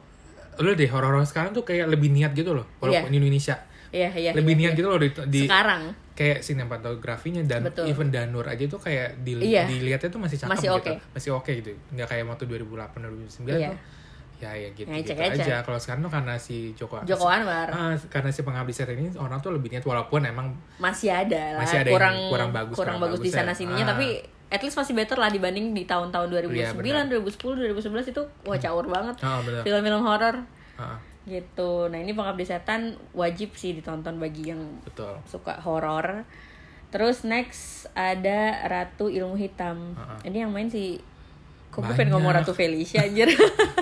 lo deh horor horor sekarang tuh kayak lebih niat gitu loh walaupun Indonesia
iya iya
lebih
iya.
niat gitu loh di, di-
sekarang
kayak sinematografinya dan
Betul.
even Danur aja tuh kayak di,
Iya.
dilihatnya tuh masih cakep
Masih
gitu
oke.
masih oke gitu nggak kayak waktu 2008 2009
Iya.
tuh ya ya gitu,
Yang
gitu
ecek-ecek.
aja kalau sekarang tuh karena si Joko
Joko Anwar
Ah, karena si pengabdi setan ini orang tuh lebih niat walaupun emang
masih ada lah
Masih ada yang
kurang
kurang bagus, kurang
bagus di
bagus ya.
sana sininya
Ah.
tapi at least masih better lah dibanding di tahun-tahun 2009
Iya, benar.
2010 2011 itu wah caur banget
ah benar
film-film horor
Ah,
gitu nah ini pengabdi setan wajib sih ditonton bagi yang
betul
suka horor. Terus next ada Ratu Ilmu Hitam.
Heeh.
Ini yang main si Kok gue
Ah. Banyak.
pengen ngomong Ratu Felicia
[LAUGHS]
anjir.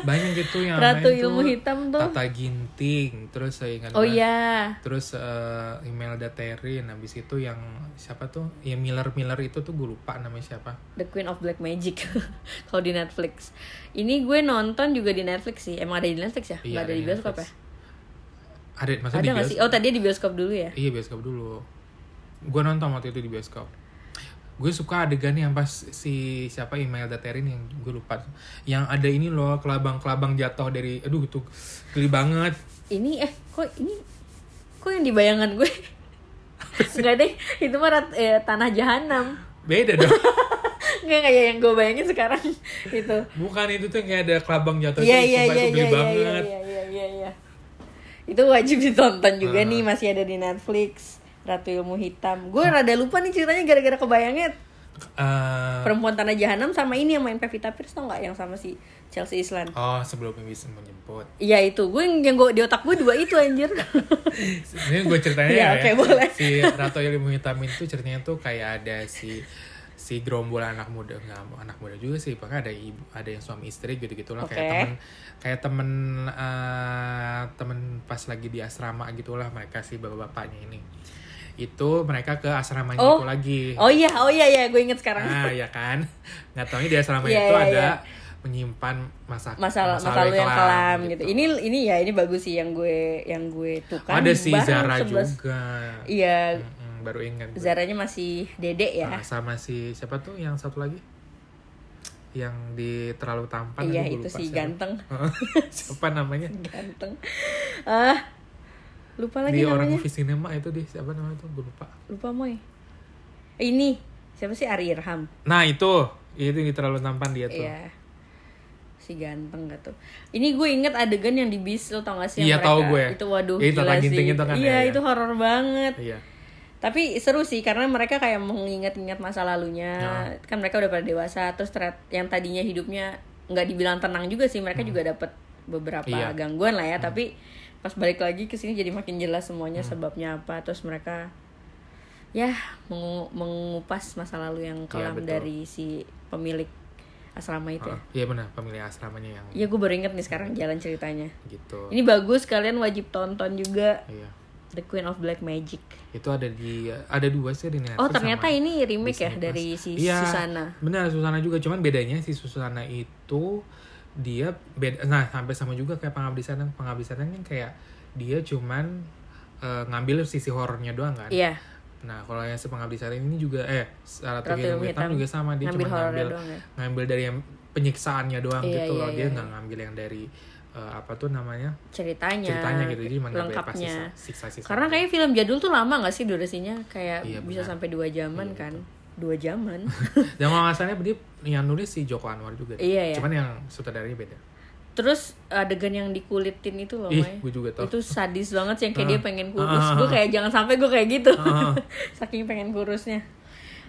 banyak gitu yang
Ratu
main
Ilmu
tuh,
Hitam tuh.
Tata Ginting terus saya ingat
oh
banget.
iya.
terus eh, Imelda Terin habis itu yang siapa tuh ya Miller Miller itu tuh gue lupa namanya siapa
The Queen of Black Magic [LAUGHS] kalau di Netflix. Ini gue nonton juga di Netflix sih. Emang ada di Netflix ya? Nggak ada di bioskop
Iya, Netflix.
ya?
ada
Ada
maksudnya di
nggak sih? Oh
bioskop
tadi di bioskop dulu ya?
iya bioskop dulu gue nonton waktu itu di bioskop gue suka adegan yang pas si siapa Imelda Terin yang gue lupa yang ada ini loh kelabang-kelabang jatuh dari aduh tuh geli banget
Ini eh kok ini kok yang di bayangan gue? Enggak deh, itu mah rat- eh, tanah jahanam. [LAUGHS]
beda dong
Enggak kayak yang gue bayangin sekarang [LAUGHS] itu.
bukan itu tuh yang kayak ada kelabang jatuh
Iya
itu,
iya
sumpah
iya
itu geli
iya
banget
iya iya iya iya iya. Itu wajib ditonton juga
Ah.
nih masih ada di Netflix. Ratu Ilmu Hitam. Gue rada lupa nih ceritanya gara-gara kebayangnya
Eh,
perempuan tanah jahanam sama ini yang main Pevita Pierce tau nggak yang sama si Chelsea Islan.
Oh, sebelum bisa menjemput.
Iya itu. Gue yang yang gua- di otak gue dua itu
[LAUGHS]
anjir.
Ini gue
[LAUGHS]
ceritanya
Iya,
ya.
oke, boleh.
Si Ratu Ilmu Hitam itu ceritanya tuh kayak ada si si gerombolan anak muda nggak anak muda juga sih bahkan ada ibu ada yang suami istri gitu gitulah
Oke.
kayak temen kayak temen eh, temen pas lagi di asrama gitulah mereka si bapak bapaknya ini itu mereka ke asramanya
Oh.
itu lagi
oh iya oh iya ya gue inget sekarang.
ah ya kan nggak tahunya di asrama
Iya,
itu
iya,
ada
iya.
menyimpan masa
Masalah masalah yang kelam gitu. Ini ini ya ini bagus sih yang gue yang gue tukar.
ada si
Baru
Zara
11.
juga
Iya,
Mm-mm, baru ingat gue.
Zaranya masih Dede ya.
Ah, sama si siapa tuh yang satu lagi yang di terlalu tampan
iya itu
aduh, gue lupa
si
[LAUGHS] siapa.
ganteng. [LAUGHS]
siapa namanya
ganteng ah lupa lagi
di orang
namanya
movie cinema itu deh siapa namanya tuh gue lupa
lupa moy Eh, ini siapa sih Ari Irham
nah itu itu yang di terlalu tampan dia tuh
iya si ganteng gak tuh ini gue inget adegan yang di bis lo tau gak sih yang
Iya, tahu gue.
itu waduh
Iya, itu
gila
Tata
sih
Ginting itu kan,
iya
ya, ya.
itu horor banget
Iya.
tapi seru sih karena mereka kayak mengingat-ingat masa lalunya
Ya.
kan mereka udah pada dewasa terus ternyata yang tadinya hidupnya nggak dibilang tenang juga sih mereka juga dapat beberapa
Hmm. Iya.
gangguan lah ya tapi pas balik lagi ke sini jadi makin jelas semuanya
Hmm.
sebabnya apa terus mereka ya mengu- mengupas masa lalu yang kelam
Iya, betul.
dari si pemilik asrama itu
Ah,
ya
iya benar pemilik asramanya yang
Iya gue baru inget nih sekarang jalan ceritanya
gitu
ini bagus kalian wajib tonton juga
iya
The Queen of Black Magic
itu ada di ada dua sih di Netflix
Oh ternyata
sama-
ini remake ya
Disney Plus.
dari si
Iya,
Susana.
Benar Susana juga, cuman bedanya si Susana itu dia beda nah sampai sama juga kayak pengabdi setan. Pengabdi setan kan kayak dia cuman eh, ngambil sisi horornya doang kan.
Iya,
Nah, kalau yang si pengabdi setan ini juga eh
Ratu
Ratu Ilmu
Ilmu
Hitam
Hitam.
juga sama dia
ngambil
cuma
horornya
ngambil
doang ya.
ngambil dari yang penyiksaannya doang
Iya,
gitu
iya,
loh.
iya,
Dia
iya.
nggak ngambil yang dari eh, apa tuh namanya?
Ceritanya,
ceritanya gitu. Jadi mengambil pas
Iya, lengkapnya.
sisa- siksa-siksa.
Karena kayak film jadul tuh lama nggak sih durasinya? Kayak
Iya,
bisa
benar.
sampai dua jaman
Iya,
kan? Dua
[LAUGHS]
jaman.
dan kalau nggak salah dia yang nulis si Joko Anwar juga. deh.
Iya, iya.
Cuman yang sutradaranya beda.
Terus adegan yang dikulitin itu loh,
Ih,
Mai.
gue juga tau.
Itu sadis banget sih yang kayak
Ah.
dia pengen kurus.
Ah.
Gue kayak jangan sampai gue kayak gitu.
Ah.
[LAUGHS] Saking pengen kurusnya.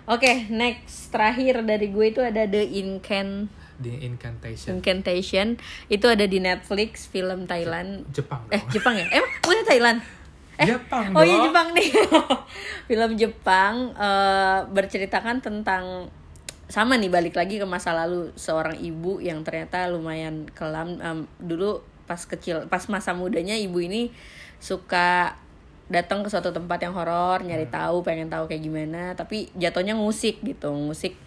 Oke, next terakhir dari gue itu ada The Incan
di Incantation
Incantation. Itu ada di Netflix, film Thailand.
Jepang
Eh
dong
Jepang ya? Emang bukan Thailand?
Jepang
Oh iya
dong.
Jepang nih. [LAUGHS] Film Jepang eh, berceritakan tentang sama nih balik lagi ke masa lalu seorang ibu yang ternyata lumayan kelam Em, dulu pas kecil pas masa mudanya ibu ini suka datang ke suatu tempat yang horor nyari
Hmm.
tahu pengen tahu kayak gimana tapi jatuhnya ngusik gitu ngusik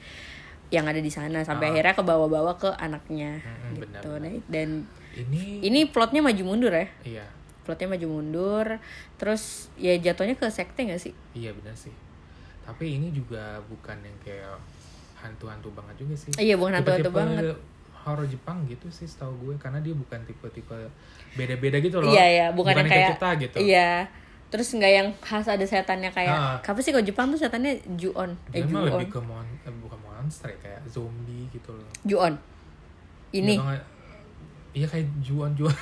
yang ada di sana
Ah.
sampai akhirnya ke bawa-bawa ke anaknya
Mm-mm,
gitu
benar-benar.
Nah, dan
Ini,
ini plotnya maju mundur ya
iya,
plotnya maju mundur terus ya jatuhnya ke sekte gak sih
iya benar sih. Tapi ini juga bukan yang kayak hantu-hantu banget juga sih.
Iya, bukan hantu-hantu
Tipe-tipe
banget.
Horor Jepang gitu sih setahu gue karena dia bukan tipe-tipe beda-beda gitu loh.
iya ya bukan yang kayak
kita gitu.
iya terus nggak yang khas ada setannya
Ah.
kayak apa sih kalau Jepang tuh setannya juon eh
Dia mah
juon
lebih ke mon, eh, bukan monster ya, kayak zombie gitu loh.
juon ini
Nggak tau nggak- Iya kayak juan-juan.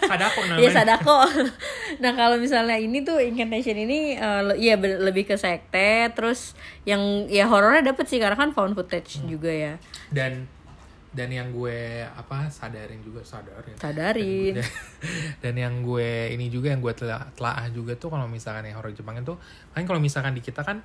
Sadako namanya.
[LAUGHS] Iya sadako. [LAUGHS] nah kalau misalnya ini tuh incantation ini eh, le- iya be- lebih ke sekte, terus yang ya horornya dapet sih karena kan found footage
Hmm.
juga ya.
dan dan yang gue apa sadarin juga sadarin
Sadarin.
dan, [LAUGHS] dan yang gue ini juga yang gue telah telaah juga tuh kalau misalkan yang horor Jepang itu kan kalau misalkan di kita kan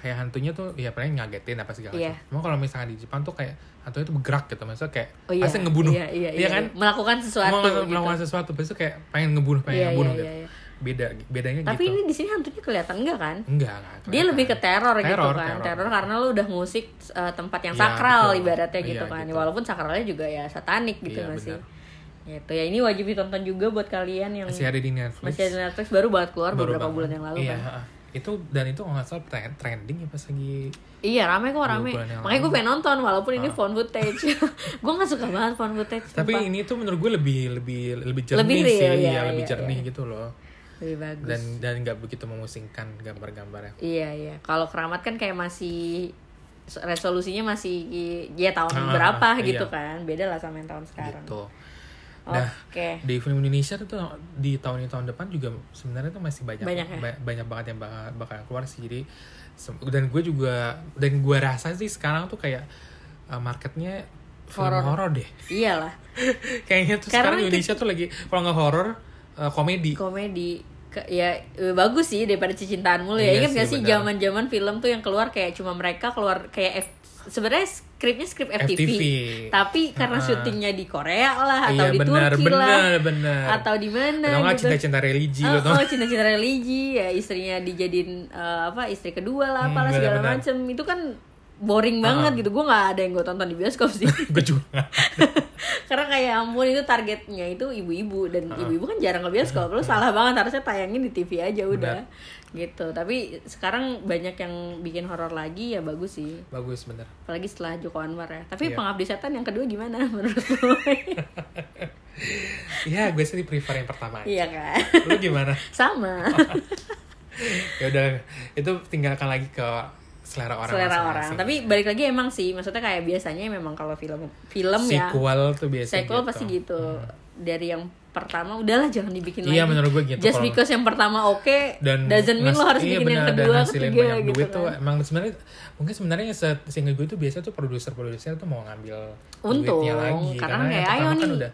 kayak hantunya tuh ya paling ngagetin apa segala
Iya.
macam. Cuma kalau misalkan di Jepang tuh kayak hantunya tuh bergerak gitu, maksudnya kayak
Oh iya.
pasti ngebunuh.
Iya, iya, iya,
kan?
iya. Melakukan sesuatu.
Mau
gitu.
melakukan sesuatu, pasti tuh kayak pengen ngebunuh, pengen
Iya,
ngebunuh
iya,
gitu.
iya, iya.
Beda bedanya
Tapi
gitu.
ini di sini hantunya kelihatan enggak kan?
Enggak, enggak.
Dia lebih ke
kelihatan.
teror, gitu
Teror,
kan, teror.
teror.
karena lu udah ngusik eh, tempat yang
Iya,
sakral
betul.
ibaratnya gitu
Iya,
kan,
gitu.
walaupun sakralnya juga ya satanik gitu
Iya,
masih.
benar.
Gitu ya ini wajib ditonton juga buat kalian yang
masih ada di Netflix.
masih ada di Netflix baru banget keluar
Baru
beberapa
banget.
bulan yang lalu
iya,
kan.
heeh. Itu dan itu kalau nggak salah tren- trending ya pas lagi
Iya rame kok
Dua
rame.
bulan
Makanya
yang
gue
lalu. Ah.
pengen nonton walaupun ini found footage. [LAUGHS] gue nggak suka banget found footage.
tapi
sumpah.
ini tuh menurut gue lebih lebih lebih jernih
Lebih
sih
real,
ya,
iya,
lebih
iya,
jernih
iya.
gitu loh
lebih bagus.
dan dan nggak begitu memusingkan gambar-gambarnya
Iya iya. Kalau keramat kan kayak masih resolusinya masih ya tahun
Ah,
berapa
iya.
gitu kan. Beda lah sama yang tahun sekarang.
gitu
Oke.
Nah, di film Indonesia tuh di tahun tahun depan juga sebenarnya tuh masih banyak
Banyak ya?
ba- banyak banget yang bakal, bakal keluar sih jadi sem- dan gue juga dan gue rasa sih sekarang tuh kayak uh, marketnya film
Horor.
horor deh [LAUGHS]
Iyalah,
kayaknya tuh
Karena
sekarang
kita-
Indonesia tuh lagi kalau nggak horor uh, komedi
komedi Ke- ya eh, bagus sih daripada cicintaan mulu ya.
Iya
Ingat gak
sih,
sih
benar.
zaman-zaman film tuh yang keluar kayak cuma mereka keluar kayak F- sebenarnya skripnya skrip FTV.
FTV.
Tapi karena
Heeh.
syutingnya di Korea lah atau
iya
di
benar
Turki lah
benar benar
atau di mana
Atau nggak
gitu.
cinta-cinta religi gitu.
oh,
lo tau
oh, cinta-cinta religi ya istrinya dijadiin eh, apa istri kedua lah
Hmm,
apalah segala
benar-benar.
macem itu kan boring banget gitu gue nggak ada yang gue tonton di bioskop sih
[LAUGHS] gue juga nggak.
[LAUGHS] karena kayak ya ampun itu targetnya itu ibu-ibu dan ibu-ibu kan jarang ke bioskop lo salah banget harusnya tayangin di TV aja udah gitu tapi sekarang banyak yang bikin horor lagi ya bagus sih
bagus bener
apalagi setelah Joko Anwar ya tapi
Iya.
pengabdi setan yang kedua gimana [LAUGHS] menurut lo
ya gue sih prefer yang pertama
iya kan [LAUGHS]
lu gimana
sama
ya udah itu tinggalkan lagi ke selera orang
selera orang
masing-masing.
tapi balik lagi emang sih maksudnya kayak biasanya memang kalau film film ya
sequel tuh biasanya
sequel
gitu.
pasti gitu dari yang pertama udahlah jangan dibikin
Iya,
lagi
menurut gue gitu,
just
kalau-
because yang pertama oke
dan
doesn't mean lo
ngas-
harus
iya,
bikin yang
benar, dan
kedua
ngasilin
ketiga
banyak
gitu
duit tuh
kan
emang sebenarnya mungkin sebenarnya se- seingat gue tuh biasa tuh produser-produser tuh mau ngambil
Untung,
duitnya lagi
karena
yang
kayak,
pertama
ayo
kan
nih.
udah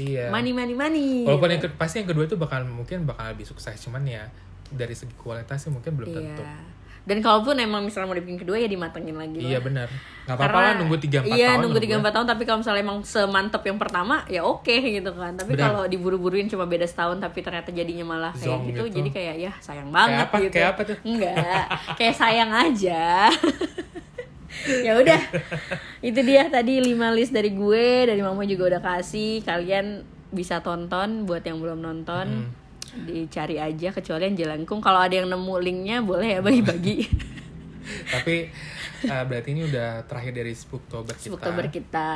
iya
money gitu. money money Iya.
Walaupun ya, yang ke- pasti yang kedua itu bakal mungkin bakal lebih sukses, cuman ya dari segi kualitas sih mungkin belum tentu.
iya dan kalaupun emang misalnya mau dibikin kedua ya dimatengin lagi lah.
Iya benar. Gak apa-apa lah nunggu 3 4
iya, nunggu
tahun. menurut
tiga
gue.
empat tahun tapi kalau misalnya emang semantep yang pertama ya oke gitu kan tapi
Benar.
kalau diburu-buruin cuma beda setahun tapi ternyata jadinya malah kayak
Zonk
gitu,
gitu.
jadi kayak ya sayang banget
apa-
gitu
kayak apa tuh?
enggak kayak sayang aja [LAUGHS] ya udah itu dia tadi lima list dari gue dari mama juga udah kasih kalian bisa tonton buat yang belum
Hmm.
nonton dicari aja kecuali yang jelangkung kalau ada yang nemu linknya boleh ya bagi-bagi [LAUGHS]
Tapi eh, berarti ini udah terakhir dari Spooktober kita.
Spooktober kita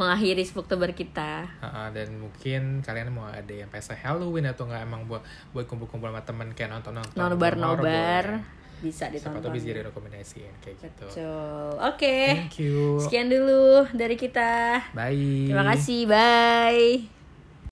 mengakhiri Spooktober kita
Heeh, dan mungkin kalian mau ada yang pesta Halloween atau nggak emang buat buat kumpul-kumpul sama temen kayak nonton-nonton
nobar
horor
nobar
boleh.
bisa
siapa
ditonton
tuh bisa jadi rekomendasi ya, kayak gitu
Betul. oke
thank you
sekian dulu dari kita
bye
terima kasih bye